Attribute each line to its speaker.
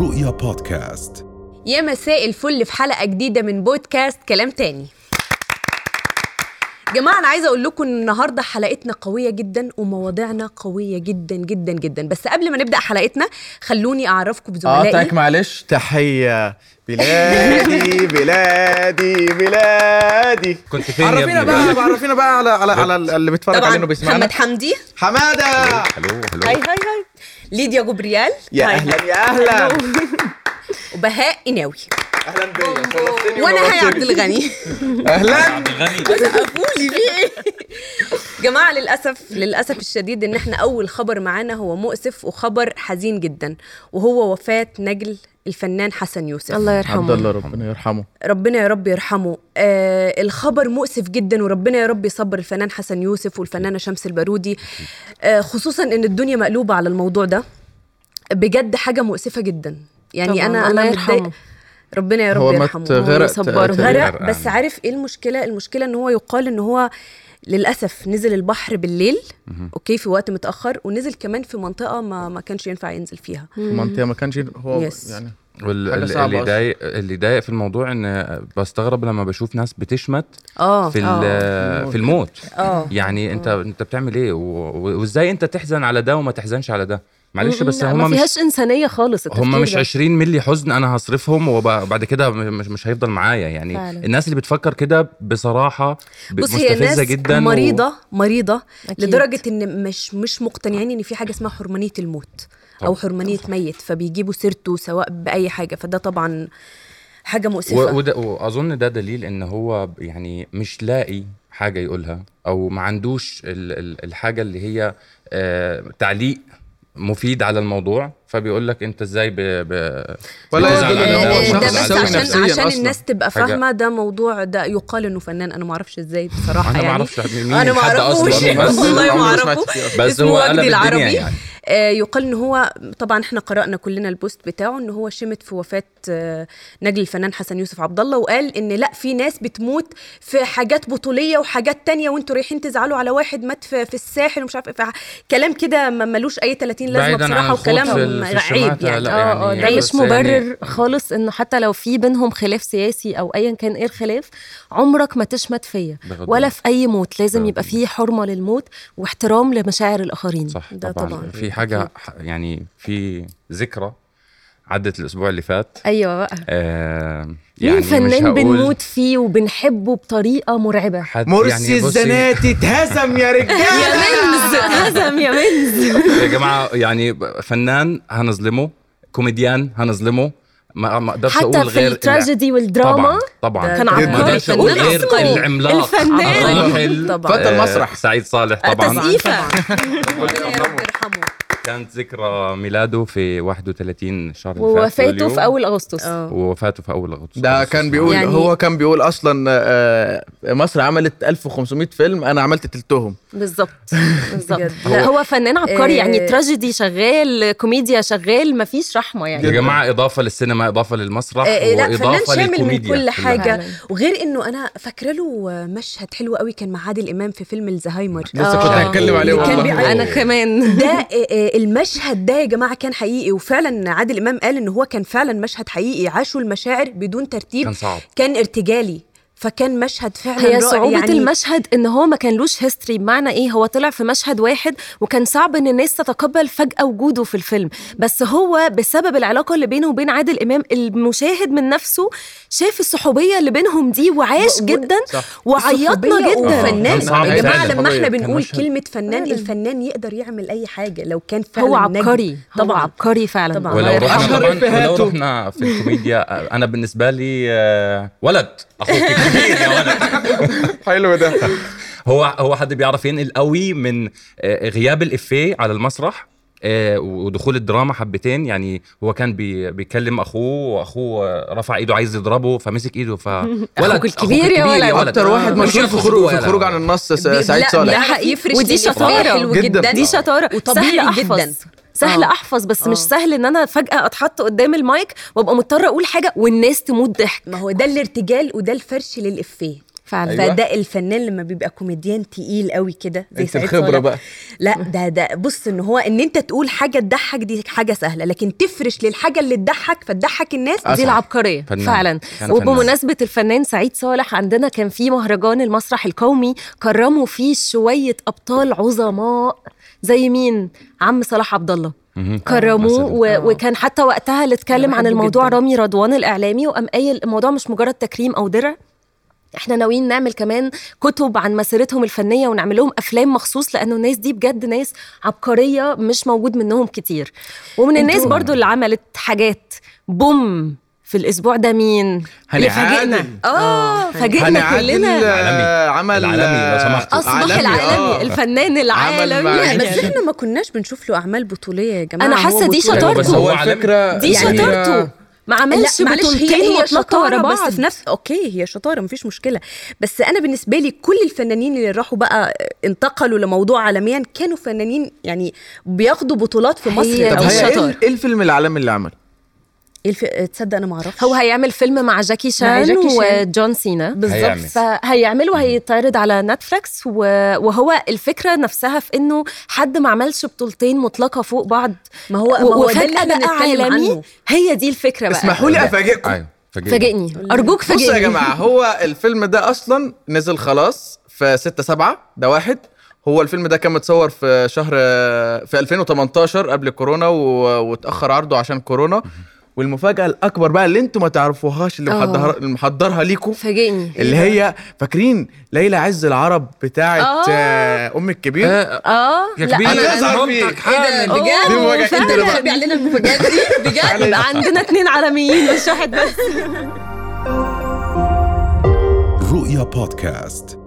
Speaker 1: رؤيا بودكاست
Speaker 2: يا مساء الفل في حلقه جديده من بودكاست كلام تاني جماعة أنا عايزة أقول لكم إن النهاردة حلقتنا قوية جدا ومواضيعنا قوية جدا جدا جدا بس قبل ما نبدأ حلقتنا خلوني أعرفكم
Speaker 3: اه
Speaker 4: طيب،
Speaker 2: بزملائي
Speaker 3: تاك معلش
Speaker 4: تحية بلادي بلادي بلادي
Speaker 3: كنت فين يا
Speaker 4: عرفينا
Speaker 3: ابني
Speaker 4: بقى عرفينا بقى على على على اللي بيتفرج
Speaker 2: طبعا محمد
Speaker 4: علينا وبيسمعنا
Speaker 2: حمدي
Speaker 4: حمادة
Speaker 1: الو
Speaker 2: هاي
Speaker 1: الو
Speaker 2: هاي هاي ليديا جبريال
Speaker 4: يا
Speaker 2: هاي.
Speaker 4: أهلا يا أهلا
Speaker 2: وبهاء إناوي
Speaker 4: أهلا بيا شرفتني
Speaker 2: وأنا هاي عبد
Speaker 4: ونورتني.
Speaker 2: الغني
Speaker 4: أهلا
Speaker 2: قولي في ايه جماعه للاسف للاسف الشديد ان احنا اول خبر معانا هو مؤسف وخبر حزين جدا وهو وفاه نجل الفنان حسن يوسف الله
Speaker 3: عبد الله ربنا يرحمه
Speaker 2: ربنا يا رب يرحمه آه الخبر مؤسف جدا وربنا يا رب يصبر الفنان حسن يوسف والفنانه شمس البارودي آه خصوصا ان الدنيا مقلوبه على الموضوع ده بجد حاجه مؤسفه جدا يعني
Speaker 5: طبعاً،
Speaker 2: انا
Speaker 5: الله
Speaker 2: انا
Speaker 5: يرحمه.
Speaker 2: متضايقة. ربنا يا رب
Speaker 3: هو ما
Speaker 2: يرحمه
Speaker 3: اتغرق
Speaker 5: يصبره.
Speaker 3: تقريباً.
Speaker 2: غرق
Speaker 6: آه.
Speaker 1: غرقان.
Speaker 2: بس عارف ايه المشكله المشكله ان هو يقال ان هو للاسف نزل البحر بالليل اوكي في وقت متاخر ونزل كمان في منطقه ما ما كانش ينفع ينزل فيها
Speaker 3: المنطقه ما كانش هو
Speaker 2: Yes.
Speaker 3: يعني
Speaker 6: وال-
Speaker 3: حاجة
Speaker 6: ال-
Speaker 3: صعبة
Speaker 6: اللي
Speaker 3: أصلاً.
Speaker 6: ضايق اللي ضايق في الموضوع ان بستغرب لما بشوف ناس بتشمت
Speaker 5: آه.
Speaker 2: اه
Speaker 6: في ال- في الموت
Speaker 2: اه
Speaker 6: يعني انت
Speaker 3: آه.
Speaker 6: انت بتعمل ايه و- و- وازاي انت تحزن على ده وما تحزنش على ده معلش بس
Speaker 5: لا،
Speaker 6: هم
Speaker 5: ما
Speaker 6: مش
Speaker 5: فيهاش انسانيه خالص التفكير
Speaker 6: هم مش
Speaker 5: ده.
Speaker 6: 20 ملي حزن انا هصرفهم وب- وبعد كده م- مش مش هيفضل معايا يعني
Speaker 5: فعلا.
Speaker 6: الناس اللي بتفكر كده بصراحه ب-
Speaker 2: بص هي
Speaker 6: مستفزه
Speaker 2: ناس
Speaker 6: جدا و-
Speaker 2: مريضه مريضه
Speaker 5: أكيد.
Speaker 2: لدرجه ان مش مش مقتنعين ان في حاجه اسمها حرمانيه الموت او
Speaker 6: طبعاً.
Speaker 2: حرمانيه ميت فبيجيبوا سيرته سواء باي حاجه فده طبعا حاجه مؤسفه
Speaker 6: و- وده واظن ده دليل ان هو يعني مش لاقي حاجه يقولها او ما عندوش ال- ال- الحاجه اللي هي آه، تعليق مفيد على الموضوع فبيقول لك انت ازاي ب... ب...
Speaker 3: ولا
Speaker 6: بتزعل
Speaker 3: يدل
Speaker 6: على
Speaker 3: إن
Speaker 6: ده
Speaker 3: هو
Speaker 6: ولا
Speaker 2: آه، ده
Speaker 3: شخص
Speaker 6: بتزعل
Speaker 2: بس
Speaker 6: على
Speaker 3: سوي
Speaker 6: ده.
Speaker 2: عشان
Speaker 3: نفسياً
Speaker 2: عشان
Speaker 3: أصلاً.
Speaker 2: الناس تبقى
Speaker 6: حاجة-
Speaker 2: فاهمه ده موضوع ده يقال انه فنان انا ما اعرفش ازاي بصراحه
Speaker 6: انا ما
Speaker 2: يعني
Speaker 6: اعرفش مين
Speaker 2: انا ما
Speaker 6: الحد
Speaker 2: اعرفوش
Speaker 6: اصلا بس
Speaker 2: والله ما
Speaker 3: عمري ما
Speaker 2: اعرفه
Speaker 3: سمعت فيه أصلاً.
Speaker 6: بس
Speaker 2: اسمه
Speaker 6: هو
Speaker 2: وجدي
Speaker 6: قلب الدنيا
Speaker 2: العربي
Speaker 6: يعني
Speaker 2: آه، يقال ان هو طبعا احنا قرانا كلنا البوست بتاعه ان هو شمت في وفاه آه، نجل الفنان حسن يوسف عبد الله وقال ان لا في ناس بتموت في حاجات بطوليه وحاجات تانية وانتوا رايحين تزعلوا على واحد مات في, في الساحل ومش عارف إيه. فح- كلام كده ما- ملوش اي 30 لازمه
Speaker 6: بعيداً عن
Speaker 2: بصراحه
Speaker 6: الخوض في
Speaker 2: وكلام
Speaker 6: ال- في
Speaker 2: عيب
Speaker 6: الشماتة،
Speaker 2: يعني
Speaker 6: لا،
Speaker 5: اه اه
Speaker 6: يعني
Speaker 5: ده
Speaker 6: بس
Speaker 5: مش
Speaker 6: يعني-
Speaker 5: مبرر خالص انه حتى لو في بينهم خلاف سياسي او ايا كان ايه الخلاف عمرك ما تشمت فيا
Speaker 6: بغض
Speaker 5: ولا
Speaker 6: النظر.
Speaker 5: في اي موت لازم
Speaker 6: بغض
Speaker 5: يبقى فيه حرمه للموت واحترام لمشاعر الاخرين
Speaker 6: صح
Speaker 2: ده
Speaker 6: ده طبعا,
Speaker 2: طبعاً.
Speaker 6: في حاجه ح- يعني في ذكرى عدت الاسبوع اللي فات
Speaker 5: ايوه بقى
Speaker 6: آه
Speaker 5: مين
Speaker 6: مش
Speaker 5: فنان
Speaker 6: هقول
Speaker 5: بنموت فيه وبنحبه بطريقه مرعبه
Speaker 6: حد-
Speaker 4: مرسي
Speaker 6: يعني بصي-
Speaker 4: الزناتي اتهزم يا
Speaker 5: يا
Speaker 4: رجالة
Speaker 5: منز هزم يا منز
Speaker 6: يا جماعه يعني ب- فنان هنظلمه كوميديان هنظلمه ما ما اقدرش اقول
Speaker 5: حتى في
Speaker 6: غير
Speaker 5: التراجيدي
Speaker 6: طبعا
Speaker 5: والدراما
Speaker 6: طبعا
Speaker 5: كان
Speaker 2: ده-
Speaker 5: عبقري.
Speaker 6: ما اقدرش اقول
Speaker 2: فنان
Speaker 6: غير
Speaker 2: عبقري.
Speaker 6: العملاق
Speaker 5: الفنان.
Speaker 6: الراحل
Speaker 2: طبعاً.
Speaker 4: فتى
Speaker 6: آه،
Speaker 4: المسرح.
Speaker 6: سعيد صالح طبعا
Speaker 2: تسقيفه
Speaker 6: الله
Speaker 2: يا رب يرحمه
Speaker 6: كانت ذكرى ميلاده في 31 شهر اللي فات،
Speaker 5: ووفاته
Speaker 6: يوليو.
Speaker 5: في اول اغسطس
Speaker 2: اه
Speaker 6: ووفاته في اول اغسطس
Speaker 3: ده كان بيقول
Speaker 2: يعني-
Speaker 3: يعني هو كان بيقول اصلا آه، مصر عملت 1500 فيلم انا عملت تلتهم
Speaker 5: بالظبط بالظبط
Speaker 2: بجد.
Speaker 5: لا هو فنان عبقري يعني
Speaker 2: آه،
Speaker 5: تراجيدي شغال كوميديا شغال مفيش رحمه يعني
Speaker 6: يا جماعه اضافه للسينما اضافه للمسرح
Speaker 2: آه، آه، لا فنان
Speaker 6: واضافه
Speaker 2: شامل من
Speaker 6: للكوميديا
Speaker 2: كل حاجه
Speaker 5: فعلاً.
Speaker 2: وغير انه انا فاكره له مشهد حلو قوي كان مع عادل امام في فيلم الزهايمر
Speaker 3: لسه كنت
Speaker 5: آه.
Speaker 3: هتكلم عليه
Speaker 2: اللي كان
Speaker 3: والله
Speaker 2: بيعيط.
Speaker 5: انا كمان
Speaker 2: ده آه، آه، المشهد ده يا جماعه كان حقيقي وفعلا عادل امام قال ان هو كان فعلا مشهد حقيقي عاشوا المشاعر بدون ترتيب
Speaker 6: كان صعب
Speaker 2: كان ارتجالي فكان مشهد فعلا
Speaker 5: هي
Speaker 2: رائع
Speaker 5: صعوبة
Speaker 2: يعني
Speaker 5: يعني المشهد ان هو ما كانلوش هيستوري بمعنى ايه هو طلع في مشهد واحد وكان صعب ان الناس تتقبل فجأة وجوده في الفيلم بس هو بسبب العلاقة اللي بينه وبين عادل امام المشاهد من نفسه شاف الصحوبية اللي بينهم دي وعاش
Speaker 2: و- و-
Speaker 5: جدا
Speaker 3: صح.
Speaker 5: وعيطنا
Speaker 2: صحوبية
Speaker 5: جدا
Speaker 6: كان
Speaker 2: وفنان
Speaker 6: صعب
Speaker 2: يا جماعه
Speaker 6: فعلاً.
Speaker 2: لما احنا
Speaker 3: صحوبية. كان
Speaker 2: بنقول
Speaker 6: مشهد.
Speaker 2: كلمه فنان
Speaker 5: فعلاً.
Speaker 2: الفنان يقدر يعمل اي حاجه لو كان فعلا
Speaker 5: هو
Speaker 2: نجم.
Speaker 5: عبقري طبعا
Speaker 2: طبعا
Speaker 5: عبقري فعلا
Speaker 2: طبعاً.
Speaker 5: الله
Speaker 3: آه،
Speaker 6: ولو
Speaker 5: يرحمه.
Speaker 6: رحنا
Speaker 4: يرحمه.
Speaker 6: طبعا
Speaker 4: رفهاته.
Speaker 6: ولو رحنا في الكوميديا انا بالنسبه لي آه، ولد اخوك كبير يا ولد
Speaker 4: حلو ده
Speaker 6: هو هو حد بيعرف ينقل قوي من آه، غياب الافيه على المسرح آه، ودخول الدراما حبتين يعني هو كان بي بيكلم اخوه واخوه آه، رفع ايده عايز يضربه فمسك ايده ف ولد
Speaker 5: أخوك الكبير يا ولد.
Speaker 3: اكتر واحد
Speaker 6: مش
Speaker 3: مشهور في
Speaker 6: ياخد
Speaker 3: خروج في
Speaker 6: ولا.
Speaker 3: الخروج عن النص س-
Speaker 2: بي-
Speaker 3: سعيد
Speaker 2: لا،
Speaker 3: صالح
Speaker 2: بيعرف يفرش
Speaker 5: ودي
Speaker 2: للإفراح
Speaker 5: شطارة
Speaker 2: حلو
Speaker 3: جدا.
Speaker 2: جدا
Speaker 5: دي شطاره
Speaker 2: وطبيعي
Speaker 5: سهل
Speaker 2: جداً.
Speaker 5: احفظ سهل
Speaker 2: آه.
Speaker 5: احفظ بس
Speaker 2: آه.
Speaker 5: مش سهل ان انا فجاه اتحط قدام المايك وابقى مضطره اقول حاجه والناس تموت ضحك
Speaker 2: ما هو ده الارتجال وده الفرش للإفيه فعلا
Speaker 3: أيوة.
Speaker 2: أيوة. فده الفنان لما بيبقى كوميديان تقيل قوي كده زي
Speaker 3: انت
Speaker 2: سعيد
Speaker 3: الخبره
Speaker 2: صالح.
Speaker 3: بقى
Speaker 2: لا ده ده بص ان هو ان انت تقول حاجه تضحك دي حاجه سهله لكن تفرش للحاجه اللي تضحك فتضحك الناس
Speaker 3: أصعب.
Speaker 5: دي العبقريه
Speaker 6: فنان.
Speaker 5: فعلا
Speaker 6: كان
Speaker 5: وبمناسبه الفنان سعيد صالح عندنا كان في مهرجان المسرح القومي كرموا فيه شويه ابطال عظماء زي مين عم صلاح عبد الله
Speaker 6: مهم.
Speaker 5: كرموه
Speaker 6: مثلاً.
Speaker 5: و...
Speaker 4: آه.
Speaker 5: وكان حتى وقتها اللي اتكلم
Speaker 2: أنا
Speaker 5: عن
Speaker 2: بحبه
Speaker 5: الموضوع
Speaker 2: جداً.
Speaker 5: رامي رضوان الاعلامي وقام قايل الموضوع مش مجرد تكريم او درع احنا ناويين نعمل كمان كتب عن مسيرتهم الفنيه ونعمل لهم افلام مخصوص لانه الناس دي بجد ناس عبقريه مش موجود منهم كتير ومن الناس
Speaker 2: انتوا-
Speaker 5: برضو اللي عملت حاجات بوم في الاسبوع ده مين
Speaker 4: هاني
Speaker 5: اللي فاجئنا.
Speaker 4: عادل. آه،
Speaker 5: اه
Speaker 4: هاني
Speaker 5: فاجئنا
Speaker 4: عادل
Speaker 5: كلنا
Speaker 4: آه، عمل
Speaker 6: العالمي، لو سمحت.
Speaker 5: اصبح
Speaker 4: عالمي،
Speaker 5: العالمي
Speaker 4: آه.
Speaker 5: الفنان
Speaker 4: عمل
Speaker 5: العالمي
Speaker 4: مع-
Speaker 2: لا
Speaker 5: يعني.
Speaker 2: بس احنا ما كناش بنشوف له اعمال بطوليه يا جماعه
Speaker 5: أنا
Speaker 2: هو
Speaker 5: حاسة دي
Speaker 2: بطولة.
Speaker 5: شطارته.
Speaker 3: بس هو
Speaker 6: عالمي.
Speaker 3: الفكره
Speaker 5: دي
Speaker 3: يعني-
Speaker 5: شطارته آه، ما عملش
Speaker 2: لا معلش هي
Speaker 5: بطولتين
Speaker 2: هي
Speaker 5: وطلقه ورا
Speaker 2: شطاره
Speaker 5: بعض
Speaker 2: بس في نفس اوكي هي شطاره مفيش مشكله بس انا بالنسبه لي كل الفنانين اللي راحوا بقى انتقلوا لموضوع عالميا كانوا فنانين يعني بياخدوا بطولات في مصر
Speaker 5: هي
Speaker 3: طب
Speaker 4: إيه
Speaker 5: دي
Speaker 2: أو
Speaker 3: هي
Speaker 5: شطارة.
Speaker 2: شطارة.
Speaker 3: ايه- ايه الفيلم العالمي اللي عمله؟
Speaker 2: الف... تصدق انا ما اعرفش
Speaker 5: هو هيعمل فيلم مع جاكي شان
Speaker 2: جاكي شان.
Speaker 5: وجون سينا
Speaker 6: هيعمل.
Speaker 2: بالظبط
Speaker 5: فهيعمله وهيتعرض على نتفليكس و- وهو الفكره نفسها في انه حد ما عملش بطولتين مطلقه فوق بعض
Speaker 2: ما هو- ما هو ده اللي احنا بنتكلم عنه.
Speaker 5: هي دي الفكره بقى
Speaker 4: اسمحوا لي افاجئكم
Speaker 6: ايوه فاجئني
Speaker 5: فاجئني ارجوك
Speaker 4: بصوا
Speaker 5: فاجئني
Speaker 4: يا جماعه هو الفيلم ده اصلا نزل خلاص في 6 7 ده واحد هو الفيلم ده كان متصور في شهر في 2018 قبل كورونا و... واتاخر عرضه عشان كورونا والمفاجاه الاكبر بقى اللي انتوا ما تعرفوهاش اللي
Speaker 5: آه.
Speaker 4: محضر... اللي محضرها ليكم
Speaker 5: فاجئني
Speaker 4: اللي هي فاكرين ليلى عز العرب بتاعه
Speaker 5: آه.
Speaker 4: آه، ام الكبير
Speaker 5: اه
Speaker 6: يا
Speaker 5: لا،
Speaker 6: كبير
Speaker 5: أنا-
Speaker 4: أنا- أظهر
Speaker 6: مامتك
Speaker 4: فيك.
Speaker 3: إيه
Speaker 6: حامل
Speaker 5: أوه،
Speaker 4: دي مواجهة
Speaker 5: فعلاً.
Speaker 4: كبيرة بقى.
Speaker 2: علينا المفاجات دي
Speaker 5: بجد عندنا اتنين عالميين مش واحد بس
Speaker 1: رؤيا بودكاست